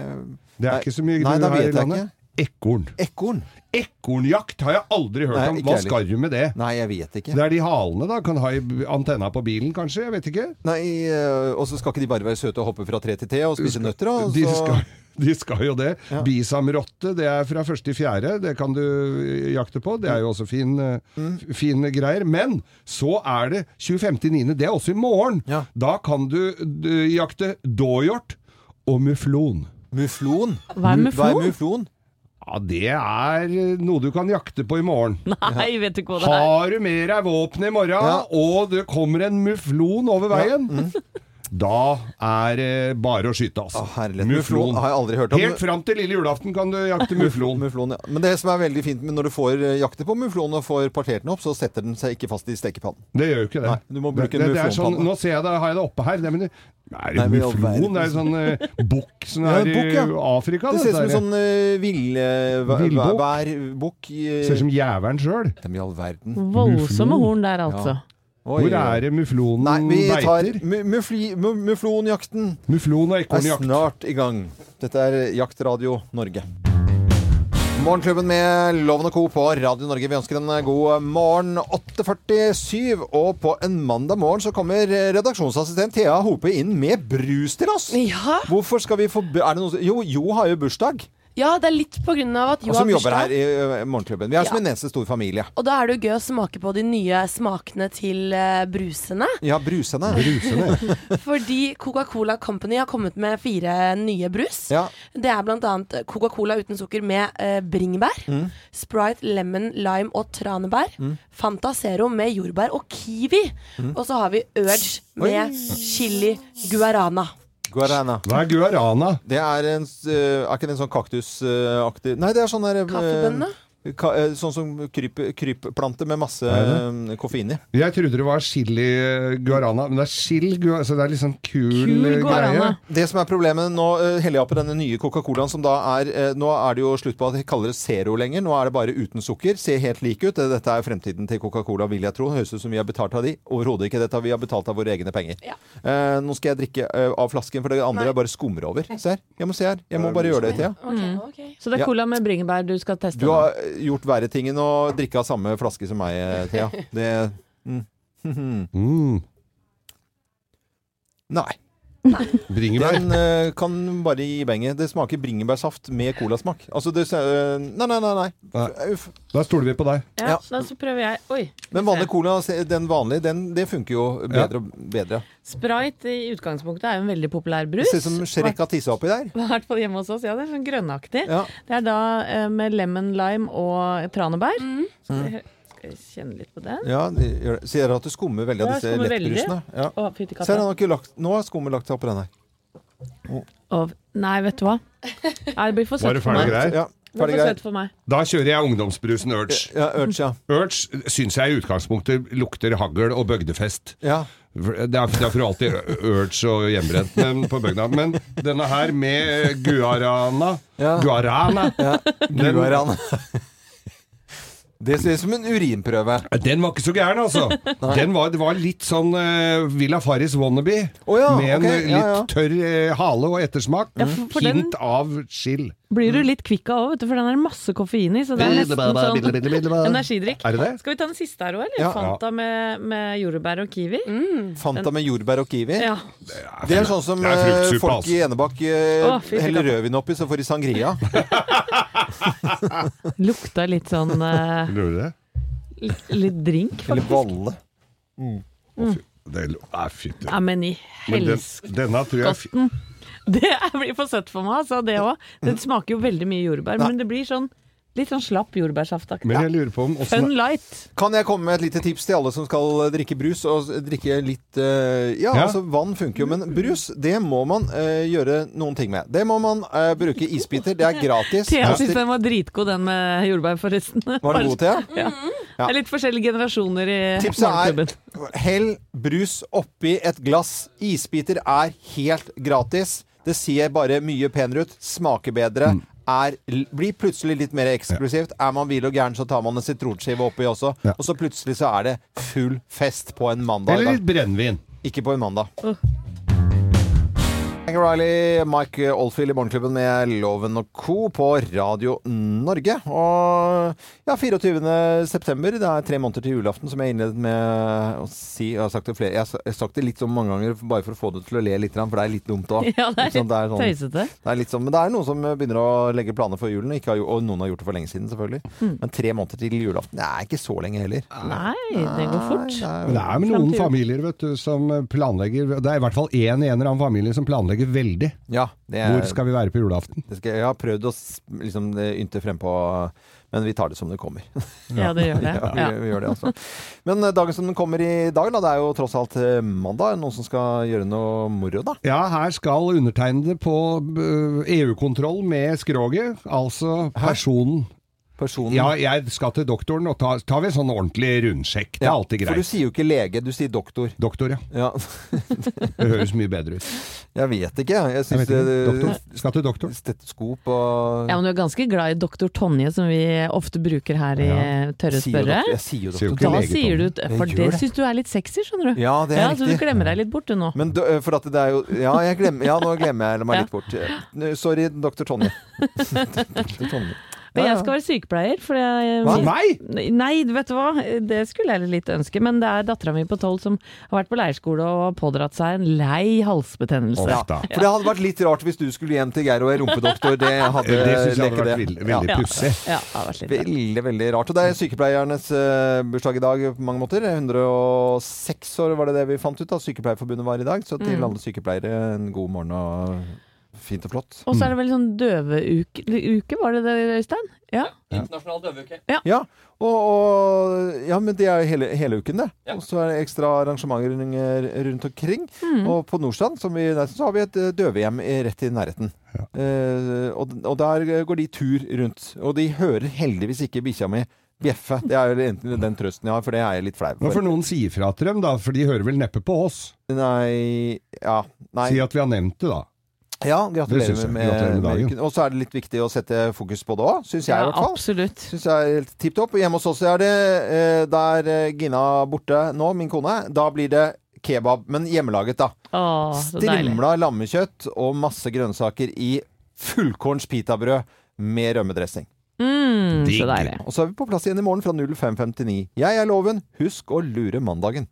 D: det er ikke så mye
B: Nei, da
D: gnu her
B: vet
D: i
B: jeg
D: landet. Ekorn.
B: ikke. Ekorn?
D: Ekornjakt har jeg aldri hørt
B: Nei,
D: om.
B: ikke
D: Hva
B: heller.
D: skal du med det?
B: Nei, jeg vet ikke.
D: Det er de halene, da. Kan ha i b- antenna på bilen, kanskje. Jeg vet ikke.
B: Nei, eh, Og så skal ikke de bare være søte og hoppe fra tre til te og spise nøtter? Og
D: De
B: så...
D: skal, de skal jo det.
B: Altså- Ja.
D: Bisamrotte, det er fra første til fjerde. Det kan du eh, jakte på. Det er jo også fin, eh,
B: Mm.
D: f- fine greier. Men så er det 25.9. Det er også i morgen.
B: Ja.
D: Da kan du, d- jakte dåhjort og muflon.
B: Muflon?
C: Hva
B: Hva
C: er
B: er
C: muflon?
B: muflon?
D: Ja, det er eh, noe du kan jakte på i morgen.
C: Nei, vet du ikke hva det er?
D: Har du med deg våpenet i morgen,
B: Ja. Mm.
D: og det kommer en muflon over veien, da er det bare å skyte, altså.
B: Å, herlighet. Muflon har jeg aldri hørt om.
D: Helt fram til lille julaften kan du jakte muflon.
B: (laughs) Muflon, ja. Men det som er veldig fint med når du får eh, jakte på muflon og får partert den opp, så setter den seg ikke fast i stekepannen.
D: Det gjør jo ikke det.
B: Nei, du må bruke
D: det, det, det er sånn,
B: muflonpanne.
D: Nå ser jeg det, har jeg det oppe her. Nei, men det, er det
B: Nei, men i all
D: muflon?
B: verden.
D: Det er sånn uh, bukk som
B: (laughs) Ja,
D: er
B: bukk, ja.
D: i Afrika.
B: Det ser ut som en
D: dette
B: sånn uh,
D: Villbukk.
B: villværbukk.
D: her. ser ut
B: eh,
D: som jævelen sjøl.
B: Dem i all verden.
C: Voldsomme horn der, altså.
B: Oi,
D: Hvor er det muflonen
B: Nei, vi tar
D: beiter?
B: mu- mufli- mu- muflonjakten.
D: Muflon og
B: er
D: ekornjakt.
B: snart i gang. Dette er Jaktradio Norge. Morgenklubben med Loven og Co. på Radio Norge. Vi ønsker en god morgen. 8.47, og på en mandag morgen så kommer redaksjonsassistent Thea Hope inn med brus til oss.
J: Ja.
B: Hvorfor skal vi få bu- er det noe, som- Jo, Jo har jo bursdag,
J: ja, det er litt på grunn av at
B: og
J: Jo
B: som
J: har
B: jobber her
J: bursdag.
B: i ø, Morgenklubben. Vi er som
J: Ja.
B: en eneste stor familie.
J: Og da er det jo gøy å smake på de nye smakene til eh,
B: (laughs)
J: brusene.
B: Ja, brusene.
D: Brusende.
J: Fordi Coca-Cola Company har kommet med fire nye brus.
B: Ja.
J: Det er blant annet Coca-Cola uten sukker med eh, bringebær.
B: Mm.
J: Sprite, lemon, lime og tranebær. Fanta Zero med jordbær og kiwi.
B: Mm.
J: Og så har vi Urge med chili guarana.
B: Guarana.
D: Hva er guarana?
B: Det er en s- ø, Er ikke det en sånn kaktusaktig Nei, det er sånn der ø,
J: Kaffebønne?
B: Ka eh, sånn som kryp- krypplante med masse eh, koffein i.
D: Jeg trodde det var chili eh, guarana, men det er chill guarana, så det er litt sånn kul,
C: Kul
D: eh, greie.
C: guarana.
B: Det som er problemet nå, eh, heller jeg på denne nye Coca-Colaen som da er eh, Nå er det jo slutt på at de kaller det Zero lenger. Nå er det bare uten sukker. Ser helt lik ut. Eh, Dette er fremtiden til Coca-Cola, vil jeg tro. Høres ut som vi har betalt av de. Overhodet ikke. Dette har vi har betalt av våre egne penger.
J: Ja.
B: Eh, nå skal jeg drikke eh, av flasken, for det andre
J: Nei.
B: er bare skummer over. Se her. Jeg må se her. Jeg må bare gjøre det, Thea.
J: Ok, ok.
C: Så det
B: Ja.
C: er cola med bringebær du skal teste?
B: Du
C: nå.
B: har eh, gjort verre ting enn å drikke av samme flaske som meg, eh, Thea. Det mm. (laughs)
D: Mm.
B: Nei.
D: Bringebær.
B: Den eh, kan bare gi benget. Det smaker bringebærsaft med colasmak. Altså, det ser- Nei, nei, nei. nei. Uff.
D: Da stoler vi på deg.
C: Ja, Da så prøver jeg. Oi.
B: Men vanlig cola, se- den vanlige, den, det funker jo bedre og bedre.
C: Sprite i utgangspunktet er jo en veldig populær
B: Det
C: brus.
B: ser ut som Shrek har tissa oppi der.
C: I hvert fall hjemme hos oss. Ja, det er sånn grønnaktig.
B: Ja.
C: (laughs) Det er da eh, med lemon lime og tranebær.
B: Mm.
C: Så jeg, skal jeg kjenne litt på den?
B: Ja, det gjør det. Ser dere at det skummer veldig av
C: Ja,
B: disse
C: skummer veldig.
B: lettbrusene? Ja.
C: Å, fytti katta.
B: Ser han har ikke lagt, nå har skummet lagt seg oppå den her.
C: Og, nei, vet du hva? Nei, det blir for
D: Var
C: søtt
D: det
C: for
D: ferdig
C: meg.
D: greier?
B: Ja,
C: Det blir
B: ferdig
C: for
B: greier.
C: søtt for meg.
D: Da kjører jeg ungdomsbrusen
C: Eh.
D: Urge.
B: Ja, Urge, ja.
D: Urge syns jeg i utgangspunktet lukter hagl og bøgdefest.
B: ja.
D: Det er, det er for alltid urge og hjemmebrent men på bøgda. Men denne her med guarana
B: Ja.
D: Guarana! Den,
B: Guaran. (laughs) Det ser ut som en urinprøve.
D: den var ikke så gæren, altså. Den var, det var litt sånn uh, Villa Farris wannabe.
B: Å ja,
D: med
B: ok,
D: en eh,
B: ja,
D: litt
B: ja.
D: tørr eh, hale og ettersmak.
C: for- for den-
D: Hint av chill.
B: Mm.
C: Blir du litt kvikk av òg, vet du, for den er masse koffein i. Så det er nesten sånn energidrikk.
D: Er det det?
C: Skal vi ta den siste her òg, eller?
B: Ja.
C: Fanta med, med jordbær og kiwi.
B: Fanta med jordbær og kiwi.
C: Ja.
B: Det er sånn som
D: Det er fruktsuppe,
B: eh, folk
D: altså.
B: i Enebakk eh,
C: Å, fy, fy,
B: heller
C: katta.
B: rødvin oppi, så får de sangria.
D: (laughs)
C: Lukta litt sånn eh,
D: Lurer du det?
C: litt- (laughs) Litt drink,
B: Eller
C: faktisk.
B: balle.
D: det er lo- Nei, fytti
C: Ja, men i
D: Men den,
C: helsike.
D: denne tror jeg fi-
C: (laughs) Det er- blir for søtt for meg, altså, det òg. Det smaker jo veldig mye jordbær, men det blir sånn litt sånn slapp jordbærsaftaktig.
D: Men jeg lurer på om åssen
C: Fun light.
B: Kan jeg komme med et lite tips til alle som skal eh, drikke brus? Og s- drikke litt eh, ja,
D: Ja.
B: altså vann funker jo, men brus, det må man eh, gjøre noen ting med. Det må man eh, bruke isbiter. Det er gratis.
C: Thea syns
B: Koster-
C: den var dritgod, den med jordbær, forresten.
B: Var den god, Thea?
C: Ja. Det er litt forskjellige generasjoner i
B: Tipset
C: eh, morgenklubben.
B: er hell brus oppi et glass. Isbiter er helt gratis. Det ser bare mye penere ut. Smaker bedre.
D: Mm.
B: Er, l- blir plutselig litt mer eksklusivt. Er man hvil og gæren, så tar man en sitronskive oppi også.
D: Ja.
B: Og så plutselig så er det full fest på en mandag.
D: Eller litt brennevin.
B: Ikke på en mandag. Hank Riley, Mike Oldfield i Morgenklubben med Loven og Co. på Radio Norge. Og ja, 24. september, det er tre måneder til julaften, som jeg innledet med å si. og Jeg har sagt det, flere. Jeg har sa- jeg har sagt det litt sånn mange ganger bare for å få det til å le litt, grann, for det er litt dumt òg.
C: (laughs) Ja, det er litt tøysete.
B: Det er litt sånn, men det er noen som begynner å legge planer for julen, og ikke har, jo- og noen har gjort det for lenge siden, selvfølgelig.
C: Mm.
B: Men tre måneder til julaften, det er ikke så lenge heller.
C: Nei, det går fort.
D: Men det er med noen
C: Samtidig.
D: familier vet du, som planlegger Det er i hvert fall én i en eller annen familie som planlegger veldig.
B: Ja, det er,
D: Hvor skal vi være på julaften?
B: Det skal, jeg har prøvd å s- liksom, eh, ynte frempå, men vi tar det som det kommer. (laughs)
C: Ja, det gjør det.
B: Ja, vi,
C: Ja.
B: vi gjør det altså. Men eh, dagen som den kommer i dag, da, det er jo tross alt eh, mandag. Er det Noen som skal gjøre noe moro, da?
D: Ja, her skal undertegnede på øh, EU-kontroll med skroget, altså personen.
B: Personen?
D: Ja, jeg skal til doktoren, og ta- tar vi en sånn ordentlig rundsjekk. Det
B: Ja,
D: er alltid
B: For du
D: greit.
B: sier jo ikke lege, du sier doktor.
D: Doktor, ja.
B: Ja,
D: Det høres mye bedre ut.
B: jeg vet ikke. Jeg
D: Jeg
B: syns
D: vet ikke. Doktor. Skal til doktor.
B: Stetoskop og
C: Ja, men du er ganske glad i doktor Tonje, som vi ofte bruker her i
D: Ja.
C: Tørre
B: Sier jo
C: spørre.
B: doktor. Jeg sier jo
D: Sier jo
B: doktor.
D: ikke
C: Da
D: lege,
C: sier du
B: Tonje.
C: For
B: Jeg
C: det
B: gjør det.
C: syns du er litt sexy, skjønner du.
B: Ja, det er
C: Så du
B: riktig.
C: glemmer deg litt bort, du nå.
B: Men dø, for at det er jo Ja, jeg glemmer, ja nå glemmer jeg meg litt bort. Eh, Sorry, doktor
C: (laughs)
B: Tonje. Dr. Tonje.
C: Men
B: Ja,
C: jeg
B: ja.
C: skal være sykepleier, for jeg
B: Hva?
D: Nei!
C: Nei, vet du hva, det skulle jeg litt ønske, men det er dattera mi på tolv som har vært på leirskole og har pådratt seg en lei halsbetennelse.
B: Ja,
D: Uff da.
B: for det hadde vært litt rart hvis du skulle hjem til Geir og er rumpedoktor. Det hadde
D: (laughs) Det syns jeg
B: leket
D: hadde vært
B: det.
D: veldig, veldig
C: Ja.
D: pussig.
C: Ja, det har vært litt rart.
B: Veldig, veldig rart. Og det er sykepleiernes eh, bursdag i dag på mange måter. 106 år var det det vi fant ut at Sykepleierforbundet var i dag. Så til alle sykepleiere, en god morgen og fint og flott.
C: Og så er det vel sånn døveuke, uke, var det det, Øystein? Ja.
K: Internasjonal døveuke.
B: Ja, og, og, ja men det er hele, hele uken, det. Og så er det ekstra arrangementer rundt- rundt omkring. Og på Nordstrand som vi, der, så har vi et eh, døvehjem i- rett i nærheten. Eh, og, og der går de tur rundt. Og de hører heldigvis ikke bikkja mi bjeffe. Det er jo egentlig den trøsten jeg har, for det er jeg litt flau
D: Nå
B: for.
D: får noen si ifra til dem, da, for de hører vel neppe på oss.
B: Nei Ja, nei.
D: Si at vi har nevnt det, da.
B: ja
D: Det
B: gratulerer
D: synes
B: med,
D: jeg. Gratulerer
B: med,
D: med dagen.
B: uken. Og så er det litt viktig å sette fokus på det òg, syns jeg
C: ja
B: i hvert fall.
C: absolutt.
B: Syns jeg er helt tipp topp. Hjemme hos oss er det eh, der eh, Gina borte nå, min kone. Da blir det kebab, men hjemmelaget, da.
C: Å, så deilig.
B: Strimla lammekjøtt og masse grønnsaker i fullkorns pitabrød med rømmedressing.
C: Mm,
D: Digg.
C: så deilig.
B: Og så er vi på plass igjen i morgen fra 05.59. Jeg er Loven. Husk å lure mandagen.